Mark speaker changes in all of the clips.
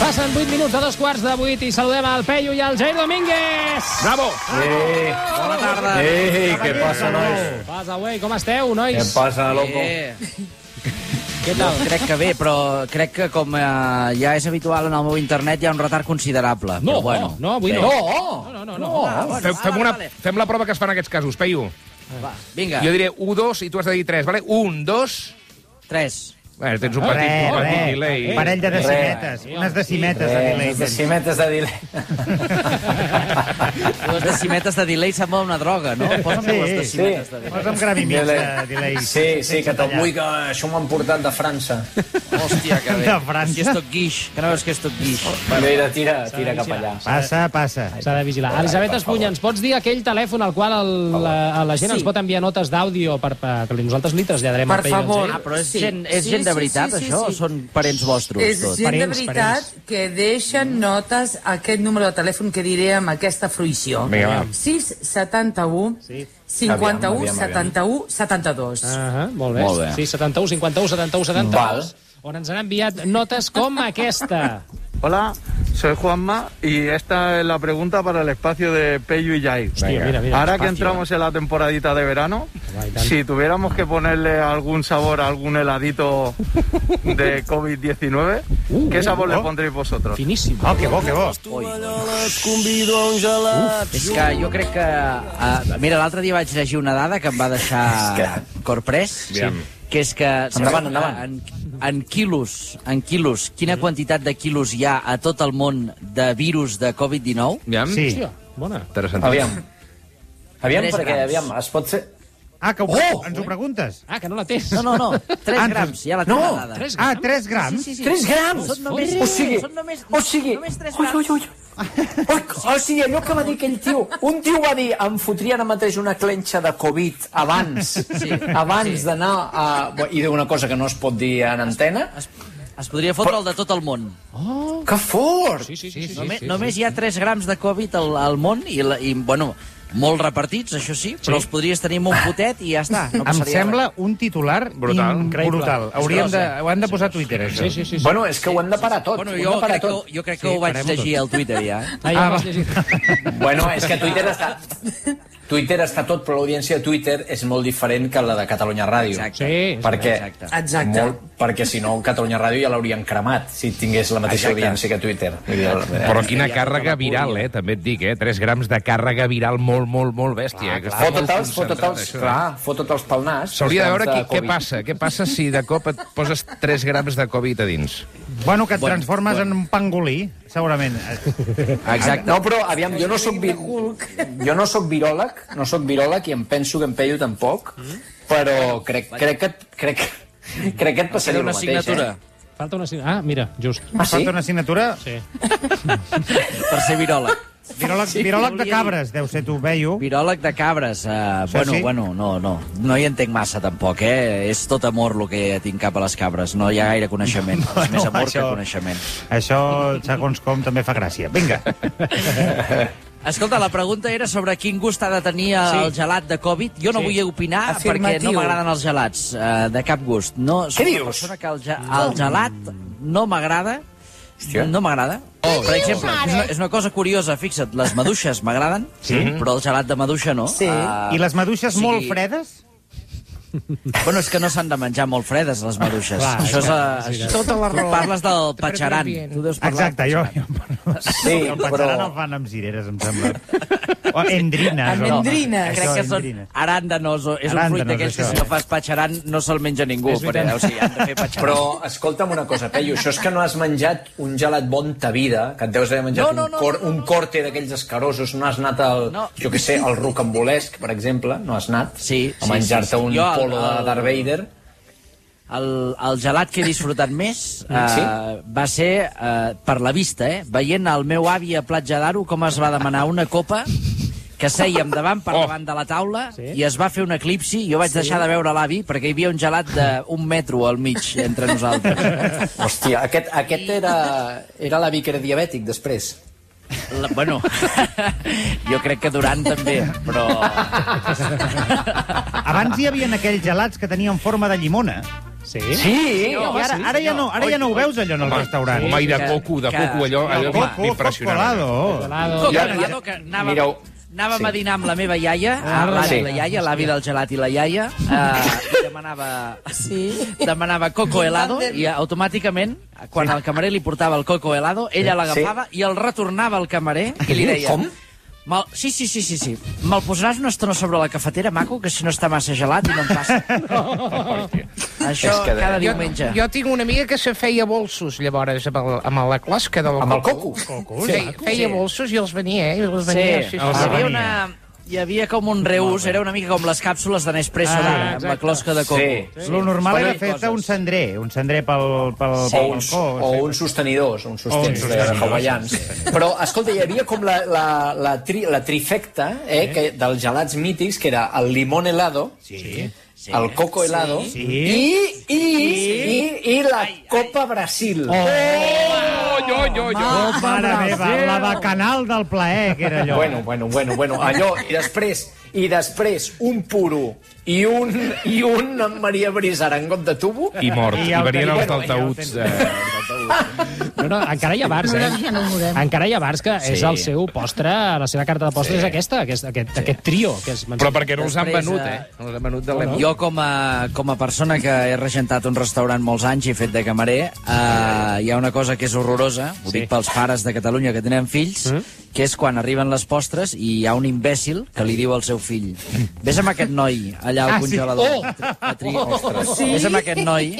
Speaker 1: passen 8 minuts a dos quarts de 8 i saludem al Peyu i al Jair Domínguez.
Speaker 2: Bravo!
Speaker 3: Eh,
Speaker 2: Bona tarda.
Speaker 3: eh, què passa, nois?
Speaker 1: Passa, güey, com esteu,
Speaker 3: Què
Speaker 1: nois?
Speaker 3: passa, loco?
Speaker 2: Eh,
Speaker 1: Què
Speaker 2: no,
Speaker 1: tal?
Speaker 2: crec que bé, però crec que com eh, ja és habitual en el meu internet hi ha un retard considerable.
Speaker 1: No,
Speaker 2: però bueno,
Speaker 1: no, avui
Speaker 2: bé.
Speaker 1: no.
Speaker 4: Oh!
Speaker 1: No, no, no.
Speaker 2: Ah, bueno,
Speaker 5: Fem,
Speaker 2: ah,
Speaker 5: fem,
Speaker 2: vale,
Speaker 5: una,
Speaker 2: vale.
Speaker 5: fem la prova que es fan aquests casos, Peyu.
Speaker 2: Va, vinga,
Speaker 5: Jo diré 1, 2 i tu has de dir 3, vale? 1, 2...
Speaker 2: tres.
Speaker 5: Bueno, tens un
Speaker 6: Re,
Speaker 5: petit, un
Speaker 6: re,
Speaker 5: petit delay.
Speaker 6: un parell de decimetes,
Speaker 1: Re.
Speaker 6: unes decimetes de
Speaker 3: Eh,
Speaker 6: delay.
Speaker 3: decimetes de delay.
Speaker 2: Dues decimetes de delay sembla una droga, no? Posa'm
Speaker 6: Sí,
Speaker 2: dues
Speaker 6: sí.
Speaker 2: decimetes de delay.
Speaker 6: Posa'm gram i mig de delay.
Speaker 3: Sí, sí,
Speaker 6: sense
Speaker 3: que te'n
Speaker 6: tallar.
Speaker 3: vull que això m'ho han portat de França.
Speaker 2: Hòstia, que bé.
Speaker 6: De França.
Speaker 2: Si és tot guix, que no veus que és tot guix.
Speaker 3: Mira, tira, tira cap allà.
Speaker 6: Passa, passa.
Speaker 1: S'ha de vigilar. Elisabet Espunya, ens pots dir aquell telèfon al qual el, eh, la, la gent
Speaker 7: Sí.
Speaker 1: ens pot enviar notes d'àudio per, per, que nosaltres li traslladarem
Speaker 7: Per
Speaker 1: al Peyu i al
Speaker 7: favor.
Speaker 1: Jair?
Speaker 2: Ah, però és,
Speaker 7: Sí,
Speaker 2: gent, és
Speaker 7: sí,
Speaker 2: gent de
Speaker 7: sí,
Speaker 2: veritat,
Speaker 7: sí, sí,
Speaker 2: això?
Speaker 7: sí.
Speaker 2: O són parents vostros,
Speaker 7: És
Speaker 2: tots?
Speaker 7: gent de
Speaker 1: Parents,
Speaker 7: veritat
Speaker 1: parents.
Speaker 7: que deixen notes a aquest número de telèfon que diré amb aquesta fruïció.
Speaker 5: Vinga, va.
Speaker 7: 671 sí. 51
Speaker 3: Aviam, aviam, aviam.
Speaker 7: 71 72. Ah.
Speaker 1: Ah, molt, bé.
Speaker 2: Molt bé.
Speaker 1: Sí, 71, 51, 71, 72. On ens han enviat notes com aquesta.
Speaker 8: Hola, soy Juanma y esta es la pregunta para el espacio de Peyu y Jair.
Speaker 1: Hòstia, mira, mira.
Speaker 8: Ahora que entramos en la temporadita de verano, si tuviéramos que ponerle algún sabor a algún heladito de COVID-19, ¿qué sabor le pondréis vosotros?
Speaker 1: Finíssim.
Speaker 6: Oh, que bo, que bo.
Speaker 2: És que jo crec que... Uh, mira, l'altre dia vaig llegir una dada que em va deixar corprès, sí. que és que... eh,
Speaker 3: Endavant, endavant. Mhm.
Speaker 2: En, en quilos, en quilos, quina quantitat de quilos hi ha a tot el món de virus de Covid-19?
Speaker 5: Aviam.
Speaker 6: Sí.
Speaker 1: Hòstia, bona.
Speaker 5: Interessant.
Speaker 3: Aviam. Aviam,
Speaker 2: Tres
Speaker 3: perquè,
Speaker 2: grams.
Speaker 3: aviam, es pot fer...
Speaker 6: Ah, que ho,
Speaker 3: Oh!
Speaker 6: ens ho preguntes?
Speaker 1: Ah, que no la tens.
Speaker 2: No, no, no, 3
Speaker 6: Ah,
Speaker 2: grams, ja la tinc la dada.
Speaker 1: 3
Speaker 6: Ah, 3 grams?
Speaker 2: Sí, sí.
Speaker 3: Tres grams!
Speaker 2: Són només,
Speaker 3: O sigui,
Speaker 2: són només,
Speaker 3: o sigui...
Speaker 2: només 3
Speaker 3: Ui,
Speaker 2: grams.
Speaker 3: ui, ui. O, o sigui, allò que va dir aquell tio... Un tio va dir, em fotria ara mateix una clenxa de Covid abans,
Speaker 2: Sí.
Speaker 3: abans
Speaker 2: Sí.
Speaker 3: d'anar a... I diu una cosa que no es pot dir en antena.
Speaker 2: Es, es podria fotre el de tot el món.
Speaker 3: Que fort!
Speaker 1: Sí, sí, sí. sí,
Speaker 2: Només,
Speaker 1: sí,
Speaker 2: només hi ha 3 grams de Covid al, al món i, la, i, bueno, molt repartits, això sí, però els podries tenir amb un potet i ja està. No
Speaker 4: Em
Speaker 2: passaria
Speaker 4: sembla un titular
Speaker 5: Brutal.
Speaker 4: in- brutal. Hauríem de,
Speaker 2: Increïble.
Speaker 4: ho han de posar a Twitter, això.
Speaker 1: sí, sí, sí, sí.
Speaker 3: Bueno, és que ho hem de parar tot.
Speaker 2: Bueno,
Speaker 3: ho hem
Speaker 2: jo
Speaker 3: de parar
Speaker 2: crec,
Speaker 3: tot.
Speaker 2: que, jo crec que sí, ho vaig
Speaker 4: farem-ho
Speaker 2: llegir al Twitter, ja. eh?
Speaker 1: Ah, ja ho has llegit.
Speaker 3: Bueno, és que Twitter està... Twitter està tot, però l'audiència de Twitter és molt diferent que la de Catalunya Ràdio.
Speaker 2: Exacte.
Speaker 1: Sí,
Speaker 3: Perquè,
Speaker 2: Exacte.
Speaker 7: Exacte.
Speaker 3: Molt, perquè si no, Catalunya Ràdio ja l'haurien cremat, si tingués la mateixa
Speaker 2: Exacte.
Speaker 3: audiència que Twitter. Vull dir, el-
Speaker 5: Però quina càrrega viral, eh? També et dic, eh? 3 grams de càrrega viral molt, molt, molt bèstia. eh, que està molt concentrat,
Speaker 3: Fototels, fototels,
Speaker 5: això. eh?
Speaker 3: clar, fototels pel nas.
Speaker 5: S'hauria de veure
Speaker 3: Abans
Speaker 5: qui, què
Speaker 3: Covid.
Speaker 5: passa. Què passa si de cop et poses 3 grams de Covid a dins?
Speaker 6: Bueno, que et transformes en un pangolí, segurament. Eh,
Speaker 2: Exacte.
Speaker 3: No, però aviam, jo no sóc vi... jo no sóc viròleg, no sóc viròleg i em penso que em Peyu tampoc,
Speaker 2: Mm.
Speaker 3: però crec, crec que crec, que- crec que et
Speaker 2: Queda
Speaker 3: passaria el
Speaker 2: una
Speaker 3: mateix,
Speaker 2: assignatura
Speaker 3: eh?
Speaker 1: Falta una... signa- Ah, mira, just.
Speaker 3: Ah,
Speaker 6: Falta
Speaker 3: sí?
Speaker 6: una assignatura.
Speaker 1: Sí.
Speaker 2: per ser viròleg.
Speaker 6: Viròleg, viròleg de cabres, deu ser tu, veio.
Speaker 2: Viròleg de cabres. Eh, bueno,
Speaker 6: sí.
Speaker 2: bueno, no, no. No hi entenc massa, tampoc, eh? És tot amor el que tinc cap a les cabres. No hi ha gaire coneixement. És més amor que
Speaker 6: això-
Speaker 2: coneixement.
Speaker 6: Això, segons com, també fa gràcia. Vinga.
Speaker 2: Escolta, la pregunta era sobre quin gust ha de tenir el gelat de Covid. Jo no
Speaker 1: Sí.
Speaker 2: vull opinar perquè no
Speaker 7: Afirmatiu.
Speaker 2: m'agraden els gelats, eh, de cap gust. No, soc
Speaker 3: Què
Speaker 2: una
Speaker 3: dius?
Speaker 2: persona que el, ge el gelat no m'agrada.
Speaker 3: Hòstia.
Speaker 2: No m'agrada. Oh, per exemple, és una, és una cosa curiosa, fixa't, les maduixes m'agraden, sí? però el gelat de maduixa no.
Speaker 7: Sí.
Speaker 2: Eh,
Speaker 6: I les maduixes
Speaker 2: o sigui,
Speaker 6: molt fredes?
Speaker 2: Bueno, és que no s'han de menjar molt fredes, les maduixes. Clar, això és... Eh, tota la raó. Tu parles del patxaran. Tu deus parlar
Speaker 6: Exacte, jo... jo
Speaker 3: Sí,
Speaker 6: el pensaran
Speaker 3: però-
Speaker 6: el fan amb cireres, em sembla. O endrines.
Speaker 7: Amb
Speaker 6: o-
Speaker 7: endrines.
Speaker 2: Crec
Speaker 6: Això,
Speaker 2: que són
Speaker 6: endrines.
Speaker 2: aràndanos. o- És un
Speaker 6: Aràndanos,
Speaker 2: fruit d'aquells que
Speaker 6: això.
Speaker 2: si no fas patxaran no se'l menja ningú. Perquè, o sigui, han de fer patxaran.
Speaker 3: Però escolta'm una cosa, Peyu, això és que no has menjat un gelat bon ta vida, que et deus haver menjat
Speaker 2: No, no,
Speaker 3: un,
Speaker 2: no,
Speaker 3: cor,
Speaker 2: no, no,
Speaker 3: un corte d'aquells escarosos, no has anat al,
Speaker 2: No.
Speaker 3: jo què sé, al rocambolesc, per exemple, no has anat
Speaker 2: Sí,
Speaker 3: a
Speaker 2: sí,
Speaker 3: menjar-te
Speaker 2: sí, sí.
Speaker 3: un
Speaker 2: Jo al-
Speaker 3: polo de
Speaker 2: al-
Speaker 3: Darth Vader.
Speaker 2: El, el gelat que he disfrutat més eh,
Speaker 3: Sí?
Speaker 2: va ser eh, per la vista, eh? Veient el meu avi a Platja d'Aro com es va demanar una copa que sèiem davant per
Speaker 5: Oh.
Speaker 2: davant de la taula i es va fer un eclipsi i jo vaig deixar de veure l'avi perquè hi havia un gelat d'un metro al mig entre nosaltres.
Speaker 3: Hòstia, aquest, aquest era, era l'avi que era diabètic després.
Speaker 2: La, bueno, jo crec que Durant també, però...
Speaker 6: Abans hi havia aquells gelats que tenien forma de llimona.
Speaker 1: Sí?
Speaker 3: Sí!
Speaker 6: I ara, ara, ja no, ara ja no ho veus, allò, en el restaurant.
Speaker 5: Home, i de
Speaker 2: que-
Speaker 5: coco, de
Speaker 2: que-
Speaker 5: coco, allò, allò
Speaker 6: Coco,
Speaker 5: m'impressionava.
Speaker 6: colado.
Speaker 1: Colado.
Speaker 2: Coca
Speaker 3: Ja-
Speaker 2: Colado, que anàvem,
Speaker 3: mireu.
Speaker 2: anàvem a dinar amb la meva iaia,
Speaker 3: Ah,
Speaker 2: l'avi
Speaker 3: sí.
Speaker 2: i la iaia, l'avi del gelat i la iaia, eh, i demanava,
Speaker 7: Sí.
Speaker 2: demanava coco helado i automàticament, quan el camarer li portava el coco helado, ella l'agafava i el retornava al camarer i li deia...
Speaker 3: Com?
Speaker 2: Mal... Sí, sí, sí, sí, sí. Me'l posaràs una estona sobre la cafetera, maco, que si no està massa gelat i no em passa. Això
Speaker 3: És que de-
Speaker 2: cada
Speaker 4: Jo,
Speaker 2: diumenge.
Speaker 4: jo tinc una amiga que se feia bolsos, llavors, amb, el, amb la closca del
Speaker 3: Amb el
Speaker 4: coco.
Speaker 3: coco.
Speaker 4: coco. Feia, feia bolsos i els venia, eh? I els venia, sí, sí,
Speaker 2: hi
Speaker 4: sí.
Speaker 2: havia una... Hi havia com un reús, era una mica com les càpsules de Nespresso
Speaker 4: Ah,
Speaker 2: d'ara, amb la
Speaker 4: exacte.
Speaker 2: closca de coco.
Speaker 3: Sí.
Speaker 6: Lo normal
Speaker 2: Bueno,
Speaker 6: era
Speaker 2: i
Speaker 6: fer-te
Speaker 2: coses.
Speaker 6: un cendrer, un cendrer pel, pel, eh?
Speaker 3: O
Speaker 6: pel
Speaker 3: uns,
Speaker 6: balcó,
Speaker 3: o
Speaker 6: sí.
Speaker 3: uns sostenidors, uns sostenidors,
Speaker 6: sostenidors,
Speaker 3: de hawaians. Però, escolta, hi havia com la, la, la, tri, la trifecta eh, que, dels gelats mítics, que era el limón helado, sí. el coco helado sí. I, i, i, i la Copa Brasil. Oh.
Speaker 5: Oh, jo, jo, jo.
Speaker 6: Oh, mare meva, la bacanal del plaer, que era allò.
Speaker 3: Bueno, bueno, bueno, bueno, allò, i després, i després un puro i un, i un Maria Brisar en got de tubo,
Speaker 5: I mort.
Speaker 6: I
Speaker 5: I,
Speaker 6: ja ho
Speaker 5: venien
Speaker 6: tenim,
Speaker 5: els
Speaker 6: bueno, ja ho
Speaker 5: daltaüts.
Speaker 6: tenim.
Speaker 5: eh,
Speaker 1: No, no, encara hi ha bars, eh?
Speaker 9: Nosaltres ja no ho veurem.
Speaker 1: Encara hi ha bars que és el seu postre, la seva carta de postre és aquesta, aquest, aquest, aquest trio. Que és
Speaker 5: Però perquè no els han
Speaker 2: Després,
Speaker 5: venut,
Speaker 2: eh,
Speaker 5: eh? No els han venut de l'Emo.
Speaker 2: Jo, com a, com a persona que he regentat un restaurant molts anys i he fet de camarer, eh, hi ha una cosa que és horrorosa, ho dic pels pares de Catalunya que tenen fills,
Speaker 5: Mm-hmm.
Speaker 2: que és quan arriben les postres i hi ha un imbècil que li diu al seu fill «Ves amb aquest noi allà
Speaker 5: Ah,
Speaker 2: al
Speaker 5: Oh!
Speaker 2: congelador a tri- Vés amb aquest noi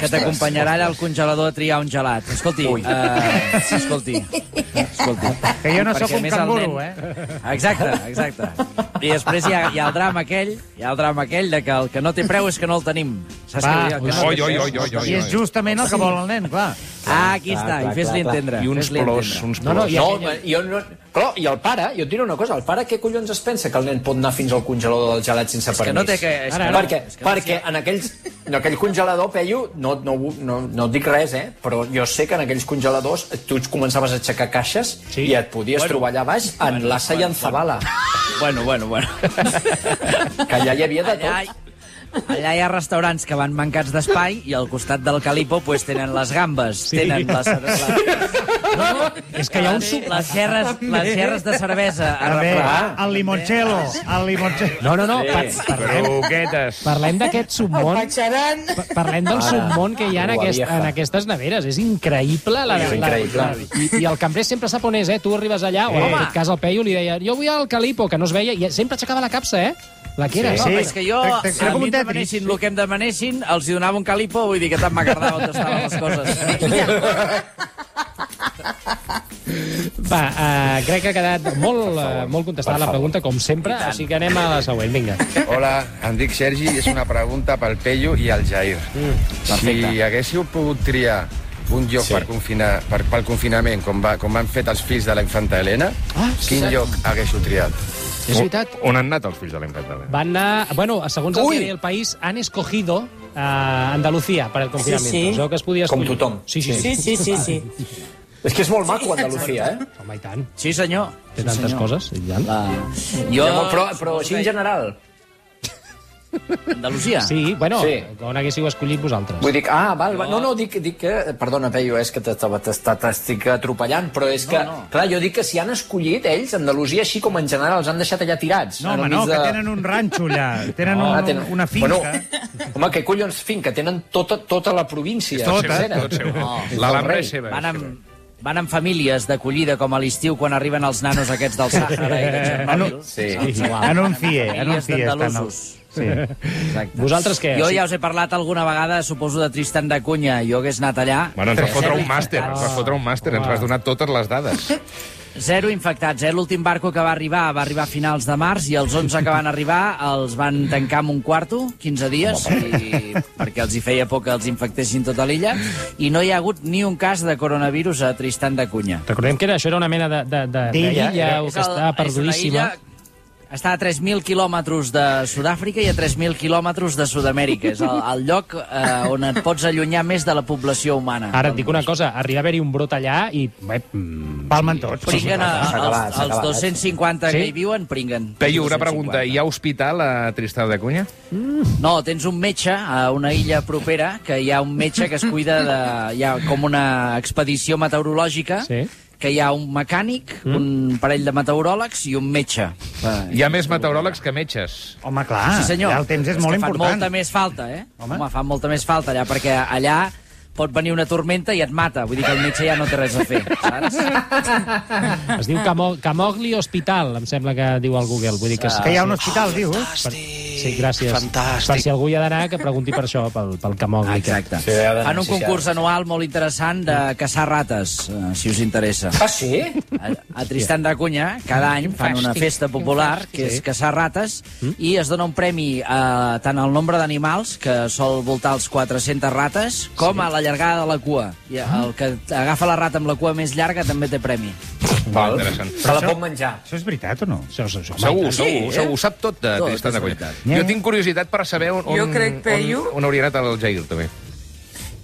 Speaker 2: que t'acompanyarà allà al congelador a triar un gelat». Escolti, eh, escolti, Eh, escolti.
Speaker 6: Que jo no sóc
Speaker 2: Perquè, a
Speaker 6: un
Speaker 2: més, el
Speaker 6: canguru,
Speaker 2: nen-
Speaker 6: eh?
Speaker 2: Exacte, exacte. I després hi ha, hi ha el drama aquell, hi ha el drama aquell de que el que no té preu és que no el tenim. Saps
Speaker 6: Va,
Speaker 2: que, el que no
Speaker 5: Oi, oi,
Speaker 2: té preu
Speaker 5: oi,
Speaker 2: no el
Speaker 5: oi, oi,
Speaker 6: I és
Speaker 5: oi.
Speaker 6: justament el que vol el nen, clar.
Speaker 2: tenim. Ah, aquí està, i fes-li entendre.
Speaker 5: I uns
Speaker 2: fes-li
Speaker 5: plors,
Speaker 2: entendre.
Speaker 5: uns
Speaker 1: No, no,
Speaker 5: plors.
Speaker 1: i
Speaker 3: No,
Speaker 1: aquella-
Speaker 3: home, jo no... Però, i el pare, jo et diré una cosa, el pare què collons es pensa que el nen pot anar fins al congelador del gelat sense
Speaker 2: que
Speaker 3: permís?
Speaker 2: no té que... És
Speaker 1: Ara,
Speaker 2: que
Speaker 1: ara.
Speaker 2: no,
Speaker 3: perquè,
Speaker 2: és que no
Speaker 3: perquè en, aquells, en aquell congelador, Peyu, no, no, ho- no, no et dic res, eh? però jo sé que en aquells congeladors tu començaves a aixecar caixes sí. i et podies bueno, trobar allà baix en bueno, l'assa i en Zabala,
Speaker 2: Bueno, bueno, bueno.
Speaker 3: que allà hi havia de tot.
Speaker 2: Allà, allà hi ha restaurants que van mancats d'espai i al costat del calipo pues, tenen les gambes, sí. tenen les, les,
Speaker 1: És que hi ha un suc...
Speaker 2: les, gerres, les gerres de cervesa a
Speaker 6: També,
Speaker 2: replegar.
Speaker 6: el limoncello, el limoncello.
Speaker 1: No, no, no, par parlem,
Speaker 5: Croquetes.
Speaker 1: parlem d'aquest submón...
Speaker 7: Patxaran.
Speaker 1: pa- Parlem del submón que hi ha en,
Speaker 3: ua,
Speaker 1: aquest,
Speaker 3: vieja.
Speaker 1: en aquestes neveres. És increïble. La,
Speaker 3: És
Speaker 1: la-
Speaker 3: increïble.
Speaker 1: La, i, I el cambrer sempre sap on és, eh? Tu arribes allà, o en
Speaker 2: Home.
Speaker 1: aquest cas el Peyu li deia jo vull al Calipo, que no es veia, i sempre aixecava la capsa, eh? La que era.
Speaker 2: Sí. Home, és que jo,
Speaker 6: Era
Speaker 2: a
Speaker 6: com
Speaker 2: mi
Speaker 6: un
Speaker 2: em
Speaker 6: Tetris.
Speaker 2: demanessin el que em demanessin, els hi donava un calipo, vull dir que tant m'agradava on estaven les coses.
Speaker 1: Va, uh, crec que ha quedat molt, uh, molt contestada la pregunta, com sempre, així que anem a la següent, vinga.
Speaker 10: Hola, em dic Sergi i és una pregunta pel Peyu i al Jair.
Speaker 2: perfecte.
Speaker 10: si haguéssiu pogut triar un lloc sí. per confinar, per, pel confinament, com, va, com han fet els fills de la infanta Helena, ah, quin lloc haguéssiu triat?
Speaker 1: És veritat.
Speaker 5: On han anat els fills de eh. l'Emperador?
Speaker 1: Van anar, bueno, segons el diari El País, han escogido uh, Andalucía per el confinament.
Speaker 7: sí.
Speaker 1: Es veu que es podia
Speaker 3: Com
Speaker 1: escollir.
Speaker 3: tothom.
Speaker 1: Sí, sí, sí.
Speaker 7: Sí, sí, sí, sí.
Speaker 3: És que és molt maco, Andalucía, eh?
Speaker 1: Home, i tant.
Speaker 2: Sí, senyor.
Speaker 1: Té tantes
Speaker 2: senyor.
Speaker 1: coses. Ja.
Speaker 2: La... Jo...
Speaker 3: Jo... Però, però així en general.
Speaker 2: Andalusia.
Speaker 1: Sí, bueno, sí.
Speaker 3: Sí.
Speaker 1: on haguéssiu escollit vosaltres.
Speaker 3: Vull dir, que- ah, val, val. No, no, dic, dic que... Perdona, Peyu, és que t'estava- t'està- t'estic atropellant, però és que... No, no. Clar, jo dic que si han escollit ells, Andalusia, així com en general, els han deixat allà tirats.
Speaker 6: No,
Speaker 3: en
Speaker 6: home,
Speaker 3: el
Speaker 6: no,
Speaker 3: mig
Speaker 6: que tenen un ranxo allà. Tenen,
Speaker 3: Ah,
Speaker 6: un,
Speaker 3: tenen-
Speaker 6: una finca.
Speaker 3: Bueno, home, que collons finca? Tenen tota, tota la província.
Speaker 6: Tot, eh?
Speaker 3: sencera.
Speaker 5: Tot seu.
Speaker 3: No, és del
Speaker 5: L'Alhambra
Speaker 3: rei.
Speaker 5: és seva. eh.
Speaker 2: Van amb, van amb famílies d'acollida, com a l'estiu, quan arriben els nanos aquests del Sàhara i de Txernòbil.
Speaker 3: Sí.
Speaker 6: En un fie, en un
Speaker 2: Famílies
Speaker 6: fie estan els...
Speaker 2: d'andalusos.
Speaker 6: Sí.
Speaker 2: Exacte.
Speaker 1: Vosaltres què?
Speaker 2: Jo
Speaker 1: Sí.
Speaker 2: ja us he parlat alguna vegada, suposo, de Tristan da Cunha. Jo hagués anat allà.
Speaker 5: Bueno, ens vas fotre
Speaker 2: Zero
Speaker 5: un màster, ens vas fotre un màster, ens vas donar totes les dades.
Speaker 2: Zero infectats, eh? L'últim barco que va arribar va arribar a finals de març i els 11 que van arribar els van tancar amb un quarto, 15 dies, i... perquè els hi feia por que els infectessin tota l'illa, i no hi ha hagut ni un cas de coronavirus a Tristan da Cunha.
Speaker 1: Recordem que era, això era una mena de- de- de-
Speaker 6: D'illa,
Speaker 1: d'illa
Speaker 6: era-
Speaker 1: o que
Speaker 2: És el-
Speaker 1: està
Speaker 2: és una
Speaker 1: perdudíssima.
Speaker 2: illa- Està a 3.000 quilòmetres de Sud-àfrica i a 3.000 quilòmetres de Sud-amèrica. És el, el lloc eh, on et pots allunyar més de la població humana.
Speaker 1: Ara et dic una cosa, arriba a haver-hi un brot allà i... Bé, mm,
Speaker 6: Palmen tots.
Speaker 2: Pringuen a,
Speaker 3: s'ha acabat,
Speaker 2: els,
Speaker 3: s'ha
Speaker 2: els
Speaker 3: acabat.
Speaker 2: 250 sí?
Speaker 1: Sí?
Speaker 2: que hi viuen, pringuen.
Speaker 5: Peyu, una
Speaker 2: 250.
Speaker 5: pregunta. Hi ha hospital a Tristau de Cunha?
Speaker 2: No, tens un metge a una illa propera, que hi ha un metge que es cuida de... Hi ha com una expedició meteorològica,
Speaker 1: Sí.
Speaker 2: que hi ha un mecànic, mm. un parell de meteoròlegs i un metge.
Speaker 5: Hi ha més meteoròlegs que metges.
Speaker 6: Home, clar,
Speaker 2: sí, senyor.
Speaker 6: Ah, ja el temps és,
Speaker 2: que
Speaker 6: molt
Speaker 2: Fa
Speaker 6: important.
Speaker 2: molta més falta, eh?
Speaker 6: Home.
Speaker 2: Home. Home, fa molta més falta allà, perquè allà pot venir una tormenta i et mata. Vull dir que el metge ja no té res a fer, saps?
Speaker 1: Es diu Camo Camogli Hospital, em sembla que diu al Google. Vull dir que,
Speaker 6: Que hi ha un hospital, dius?
Speaker 1: Per, sí, gràcies.
Speaker 9: Fantàstic.
Speaker 1: Per si algú hi ha d'anar, que pregunti per això, pel, pel Camogli.
Speaker 2: Exacte.
Speaker 3: Sí, ha d'anar,
Speaker 2: Fan un
Speaker 3: sí, sí,
Speaker 2: concurs anual molt interessant de caçar rates, eh, si us interessa.
Speaker 3: Ah, sí?
Speaker 2: A, a Tristan de Cunha, cada any fan una festa popular, que és caçar rates, i es dona un premi a tant al nombre d'animals, que sol voltar els 400 rates, com a la llargada de la cua. I el que agafa la rata amb la cua més llarga també té premi.
Speaker 5: Val. Interessant.
Speaker 3: Se la pot menjar.
Speaker 6: Això és veritat o no?
Speaker 1: Això, això, això,
Speaker 5: Segur,
Speaker 1: home,
Speaker 5: segur, segur, ho sap tot de
Speaker 2: Tot,
Speaker 5: Tristan
Speaker 2: és
Speaker 5: de Cunha.
Speaker 2: veritat.
Speaker 5: Jo tinc curiositat per saber on,
Speaker 7: Jo
Speaker 5: on,
Speaker 7: crec, Peyu.
Speaker 5: on, on hauria anat el Jair, també.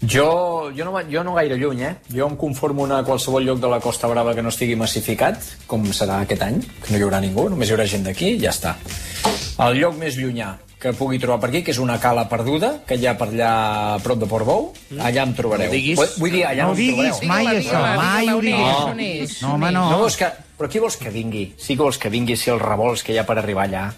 Speaker 3: Jo, jo, no, va- jo no gaire lluny, eh? Jo em conformo a anar a qualsevol lloc de la Costa Brava que no estigui massificat, com serà aquest any, que no hi haurà ningú, només hi haurà gent d'aquí i ja està. El lloc més llunyà que pugui trobar per aquí, que és una cala perduda, que hi ha per allà a prop de Portbou, allà em trobareu.
Speaker 2: No ho diguis.
Speaker 3: Vull- Vull dir, allà
Speaker 6: No ho
Speaker 3: em
Speaker 6: diguis
Speaker 3: trobareu.
Speaker 6: mai,
Speaker 4: Digue-la,
Speaker 6: això.
Speaker 4: digue-la,
Speaker 6: Mai
Speaker 4: digue-la, on
Speaker 6: ho diguis.
Speaker 4: és, on és,
Speaker 6: No, home,
Speaker 4: on
Speaker 6: no.
Speaker 3: No vols que... Però qui vols que vingui? Sí que vols que vingui si els revolts que hi ha per arribar allà.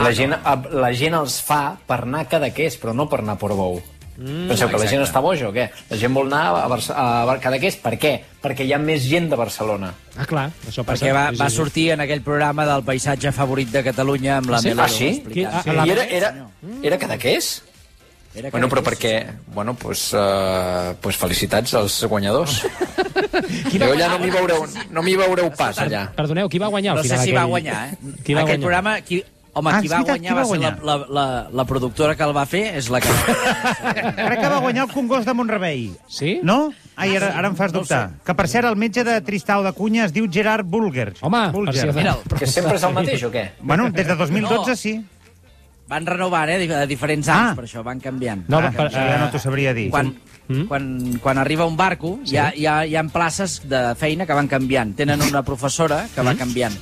Speaker 3: La, gent, a- la gent els fa per anar a Cadaqués, però no per anar a Portbou. Mm, Penseu que la gent està boja o què? La gent vol anar a, Barça, a Cadaqués, per què? Perquè hi ha més gent de Barcelona.
Speaker 1: Ah, clar, això passa.
Speaker 2: Perquè va,
Speaker 1: Sí, sí,
Speaker 2: va
Speaker 1: sí.
Speaker 2: sortir en aquell programa del paisatge favorit de Catalunya amb la
Speaker 3: Sí?
Speaker 2: Melero.
Speaker 3: Ah, sí?
Speaker 2: explicant.
Speaker 1: Qui- a-
Speaker 3: I
Speaker 1: la
Speaker 3: era, era, era Cadaqués?
Speaker 2: Era
Speaker 3: Bueno, però
Speaker 2: que-
Speaker 3: perquè... Bueno, doncs pues, uh, pues felicitats als guanyadors. jo ja no m'hi veureu, no m'hi veureu pas, allà.
Speaker 1: Perdoneu, qui va guanyar al
Speaker 2: No sé
Speaker 1: final?
Speaker 2: si va
Speaker 1: aquell-
Speaker 2: guanyar, eh?
Speaker 1: Qui va guanyar?
Speaker 2: aquell programa... Qui... Home,
Speaker 6: Ah,
Speaker 2: qui
Speaker 6: és
Speaker 2: va
Speaker 6: veritat,
Speaker 2: guanyar
Speaker 6: qui va
Speaker 2: va ser la, la, la, la productora que el va fer, és la que...
Speaker 6: Crec que va guanyar el Congost de Montrevei.
Speaker 1: Sí?
Speaker 6: No? Ai, ara, ara em fas
Speaker 2: No ho
Speaker 6: dubtar. Que, per cert, el metge de Tristau de Cunha es diu Gerard Bulger.
Speaker 1: Home, per
Speaker 6: Bulger.
Speaker 1: si...
Speaker 2: Mira'l.
Speaker 3: Que sempre és el mateix o què?
Speaker 6: Bueno, des de 2012
Speaker 2: No.
Speaker 6: sí.
Speaker 2: Van renovant, eh, de diferents anys,
Speaker 6: Ah.
Speaker 2: per això, van canviant.
Speaker 1: No,
Speaker 6: Ah,
Speaker 1: va, per,
Speaker 6: això ja no t'ho sabria dir.
Speaker 2: Quan, quan, quan arriba un barco, sí. hi, ha, hi, ha, hi ha places de feina que van canviant. Tenen una professora que va canviant.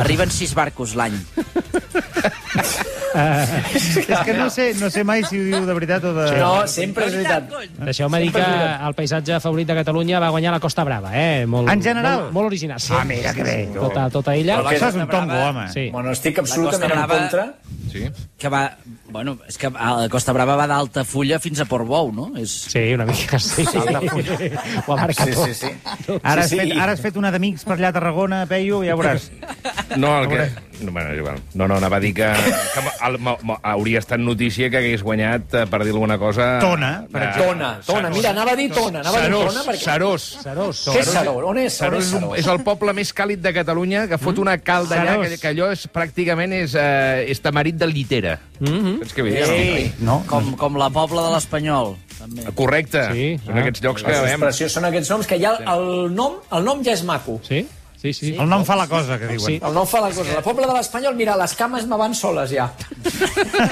Speaker 2: Arriben sis barcos l'any.
Speaker 6: És que no sé, no sé mai si ho diu de veritat o de...
Speaker 3: No, sempre és veritat.
Speaker 1: Deixeu-me dir que el paisatge favorit de Catalunya va guanyar la Costa Brava, eh? Molt,
Speaker 6: En general?
Speaker 1: Molt, molt original. Sí.
Speaker 6: Ah, mira que bé.
Speaker 1: Tota, tota ella.
Speaker 6: Però això és un tongo, home.
Speaker 1: Sí.
Speaker 3: Bueno, estic
Speaker 2: La
Speaker 3: absolutament
Speaker 2: Costa
Speaker 3: en
Speaker 2: Brava-
Speaker 3: contra.
Speaker 5: Sí.
Speaker 2: Que va... Bueno, és que a la Costa Brava va d'Altafulla fins a Portbou, no? És...
Speaker 1: Sí, una mica, sí. Ho ha marcat
Speaker 3: Sí,
Speaker 1: tot.
Speaker 3: sí, sí.
Speaker 6: Ara has,
Speaker 3: Sí, sí.
Speaker 6: fet, ara has fet una d'amics per allà a Tarragona, Peyu, ja veuràs.
Speaker 5: No, el que... No, bueno, és igual. No, no, anava a dir que, que el, mo- mo- hauria estat notícia que hagués guanyat, eh, per dir alguna cosa...
Speaker 6: Tona, per
Speaker 5: eh,
Speaker 3: Tona, Tona, mira, anava a dir Tona, anava a dir
Speaker 5: Serós,
Speaker 3: Tona perquè...
Speaker 5: Serós.
Speaker 1: Serós.
Speaker 3: Què és Saror? On és Saror?
Speaker 5: Serós és, un, és el poble més càlid de Catalunya, que
Speaker 1: Mm.
Speaker 5: fot una calda allà, que, que allò és, pràcticament és, eh, és tamarit de litera. Mm
Speaker 3: Mm-hmm.
Speaker 5: -hmm. Saps què vull dir?
Speaker 2: Sí,
Speaker 6: No,
Speaker 2: com, com la Pobla de l'Espanyol. també.
Speaker 5: Correcte.
Speaker 1: Sí,
Speaker 5: Són
Speaker 1: ah.
Speaker 5: aquests llocs que
Speaker 3: Les
Speaker 5: veiem.
Speaker 3: expressions són aquests noms que ja el, el, nom, el nom ja és maco.
Speaker 1: Sí? Sí, sí.
Speaker 6: El nom fa la cosa, que diuen.
Speaker 1: Sí.
Speaker 6: Sí.
Speaker 3: El nom fa la cosa. La Pobla de l'Espanyol, mira, les cames me van soles ja.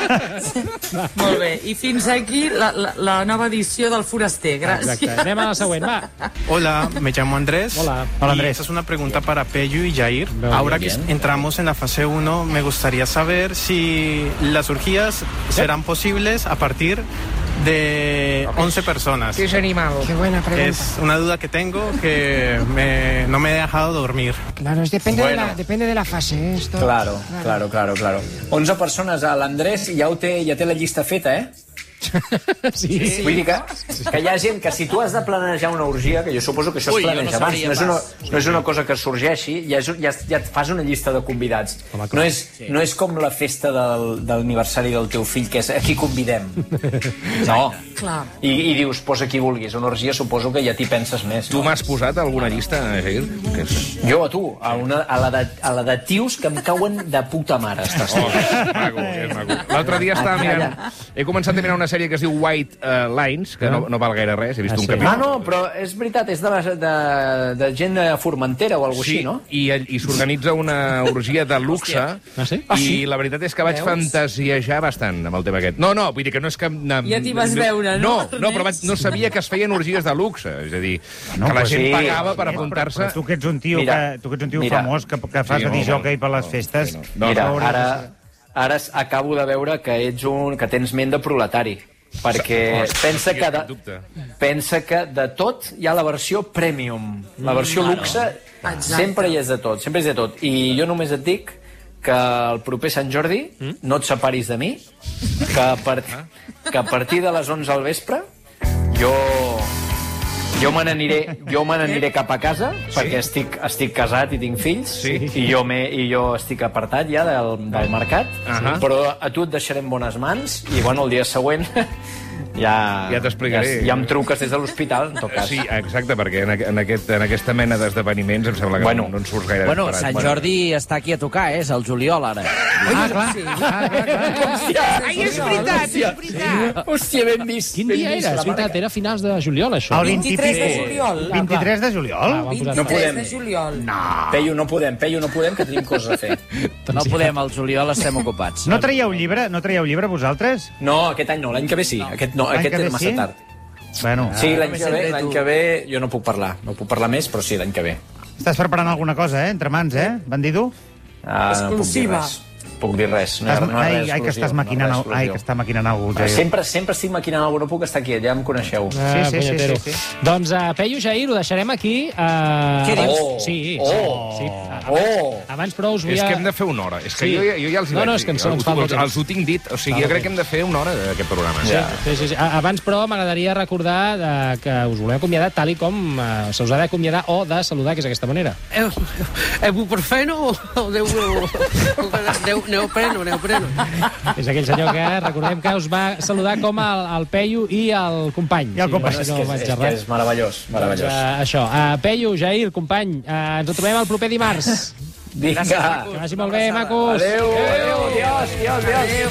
Speaker 7: Molt bé, i fins aquí la, la, la nova edició del Foraster. Gràcies.
Speaker 1: Exacte. Anem a la següent, va.
Speaker 9: Hola, me llamo Andrés.
Speaker 1: Hola.
Speaker 6: Hola,
Speaker 9: Y
Speaker 6: Andrés.
Speaker 9: Esta es una pregunta para Peyu y Jair.
Speaker 1: Muy
Speaker 9: Ahora
Speaker 1: bien.
Speaker 9: que entramos en la fase 1, me gustaría saber si las cirugías serán posibles a partir de 11 personas.
Speaker 5: és animal.
Speaker 6: Que buena
Speaker 9: Es una duda que tengo que me- no me he dejado dormir.
Speaker 6: Claro, depende,
Speaker 3: de la- Bueno.
Speaker 6: depende de la fase, ¿eh? esto.
Speaker 3: Claro, claro, claro, claro. 11 persones a l'Andrés ja, ho té, ja té la llista feta, eh?
Speaker 1: Sí, sí.
Speaker 3: Vull dir que, que hi ha gent que si tu has de planejar una orgia, que jo suposo que això
Speaker 2: Ui,
Speaker 3: es
Speaker 2: jo no
Speaker 3: planeja abans,
Speaker 2: sabria
Speaker 3: no és, una, no és una cosa que sorgeixi, ja, és, ja, ja et fas una llista de convidats. No és, no és com la festa del, de l'aniversari del teu fill, que és a qui convidem. No.
Speaker 7: Clar.
Speaker 3: I, I dius, posa qui vulguis. Una orgia suposo que ja t'hi penses més.
Speaker 5: Tu m'has posat alguna llista, Jair? Que és...
Speaker 3: Jo a tu, a, una, a, la de, a la de tios que em cauen de puta mare. Estàs Ah,
Speaker 5: Oh, és maco, és maco. L'altre dia estava mirant... He començat a mirar una una sèrie que es diu White eh, Lines, que no, no val gaire res, he vist
Speaker 1: Ah,
Speaker 5: un
Speaker 1: sí?
Speaker 5: capítol.
Speaker 3: Ah, no, però és veritat, és de, la, de, de gent eh, formentera o alguna
Speaker 5: sí,
Speaker 3: així, no?
Speaker 5: i, i s'organitza una orgia de luxe
Speaker 1: Ah, sí?
Speaker 5: i la veritat és que vaig
Speaker 7: Veus?
Speaker 5: fantasiejar bastant amb el tema aquest. No, no, vull dir que no és que... Na,
Speaker 7: Ja t'hi vas veure, no?
Speaker 5: No, no però vaig, no sabia que es feien orgies de luxe, és a dir, no,
Speaker 6: No,
Speaker 5: que la
Speaker 6: però
Speaker 5: gent
Speaker 3: sí.
Speaker 5: sí, pagava per
Speaker 6: Però
Speaker 5: apuntar-se...
Speaker 6: tu que ets un tio,
Speaker 3: Mira,
Speaker 6: que, tu que ets un tio
Speaker 3: mira.
Speaker 6: famós que, que fas
Speaker 5: Sí,
Speaker 6: de
Speaker 5: no,
Speaker 6: disjockey
Speaker 5: no,
Speaker 6: per les
Speaker 5: no,
Speaker 6: festes... Doncs
Speaker 5: no, no.
Speaker 3: Mira,
Speaker 6: veuràs-
Speaker 3: ara, ara s- acabo de veure que ets un... que tens ment de proletari. Perquè
Speaker 5: Hòstia,
Speaker 3: pensa
Speaker 5: sí,
Speaker 3: que,
Speaker 5: cap
Speaker 3: de,
Speaker 5: dubte.
Speaker 3: pensa que de tot hi ha la versió premium. La versió luxe
Speaker 7: Exacte.
Speaker 3: sempre hi és de tot, sempre és de tot. I jo només et dic que el proper Sant Jordi
Speaker 5: Mm?
Speaker 3: no et separis de mi, que a, part,
Speaker 5: Ah.
Speaker 3: que a partir de les 11 al vespre jo... Jo me n'aniré jo me n'aniré cap a casa, perquè estic, estic casat i tinc fills, i, jo me, i jo estic apartat ja del, del mercat,
Speaker 5: Ahà.
Speaker 3: però a tu et deixarem bones mans, i bueno, el dia següent ja...
Speaker 5: Ja t'explicaré.
Speaker 3: Ja, ja em truques des de l'hospital, en tot cas.
Speaker 5: Sí, exacte, perquè en, aqu- en, aquest, en aquesta mena d'esdeveniments em sembla que
Speaker 3: Bueno.
Speaker 5: bueno, no en surts gaire
Speaker 2: Bueno,
Speaker 5: disparat.
Speaker 2: Sant Jordi està aquí a tocar, eh? És el juliol, ara.
Speaker 6: Ah, clar.
Speaker 7: Sí.
Speaker 6: Ah, clar, clar.
Speaker 4: Ai, és veritat, és veritat.
Speaker 3: Hòstia, ben vist.
Speaker 1: Quin
Speaker 3: ben
Speaker 1: dia
Speaker 3: vist,
Speaker 1: era?
Speaker 3: la
Speaker 1: És veritat, era finals de juliol, això.
Speaker 6: El
Speaker 7: 23 de juliol.
Speaker 3: Ah,
Speaker 6: 23 de juliol?
Speaker 1: Ah, van posar-
Speaker 3: No
Speaker 7: 23
Speaker 3: podem.
Speaker 7: de juliol. No.
Speaker 3: Ah. Peyu, no podem, Peyu, no podem, que tenim coses a fer.
Speaker 2: No podem, el juliol estem ocupats.
Speaker 6: No traieu llibre? No traieu llibre, vosaltres?
Speaker 3: No, aquest any no, l'any que ve sí. Aquest, no,
Speaker 6: L'any
Speaker 3: aquest
Speaker 6: que ve
Speaker 3: és massa
Speaker 6: sí? Ah.
Speaker 3: tard.
Speaker 6: Bueno,
Speaker 3: Sí, l'any
Speaker 2: només
Speaker 3: que, ve,
Speaker 2: et ve
Speaker 3: l'any
Speaker 2: tu.
Speaker 3: que ve jo no puc parlar. No puc parlar més, però sí, l'any que ve.
Speaker 6: estàs preparant alguna cosa, eh? Entre mans, eh? Bandido?
Speaker 3: Ah,
Speaker 7: Exclusiva.
Speaker 3: No puc dir res. No hi ha,
Speaker 6: Estàs,
Speaker 3: no hi ha res
Speaker 6: ai, ai, que
Speaker 3: exclusiu,
Speaker 6: estàs
Speaker 3: no hi ha
Speaker 6: maquinant...
Speaker 3: res
Speaker 6: al- Ai,
Speaker 3: exclusiu.
Speaker 6: que està maquinant eh. algú.
Speaker 3: Ah,
Speaker 6: Jair.
Speaker 3: Sempre, sempre estic maquinant alguna cosa, no puc estar quiet, ja em coneixeu.
Speaker 1: Ah,
Speaker 6: Sí, sí, sí,
Speaker 1: punyetero.
Speaker 6: sí, sí.
Speaker 1: Doncs uh, Peyu Jair, ho deixarem aquí. Uh,
Speaker 3: Què dius?
Speaker 1: Sí,
Speaker 3: Oh.
Speaker 1: sí, sí.
Speaker 3: Oh!
Speaker 1: Abans, però, us vull...
Speaker 5: És
Speaker 1: a-
Speaker 5: que hem de fer una hora. És que
Speaker 1: Sí.
Speaker 5: sí. jo, jo ja els hi
Speaker 1: No,
Speaker 5: vaig
Speaker 1: no, és que ens-
Speaker 5: dir.
Speaker 1: ens fa molt
Speaker 5: els,
Speaker 1: temps.
Speaker 5: els ho tinc dit. O sigui, jo crec que hem de fer una hora d'aquest programa.
Speaker 1: Sí, sí, sí, sí. A- Abans, però, m'agradaria recordar eh, que us volem acomiadar tal i com eh, se us ha d'acomiadar o de saludar, que és d'aquesta manera.
Speaker 11: Ibuprofeno o deu... deu neopreno, neopreno.
Speaker 1: És aquell senyor que recordem que us va saludar com el, el Peyu i el company.
Speaker 6: I el company.
Speaker 1: Sí,
Speaker 3: És,
Speaker 1: si no
Speaker 3: que,
Speaker 1: vaig
Speaker 3: és,
Speaker 1: errat.
Speaker 3: que és meravellós,
Speaker 1: Doncs,
Speaker 3: meravellós.
Speaker 1: eh, això. Uh, Peyu, Jair, company, uh, ens trobem el proper dimarts.
Speaker 3: Vinga!
Speaker 1: Que vagi molt bé, macos.
Speaker 3: Adéu! Adéu! Adiós, adiós, adiós!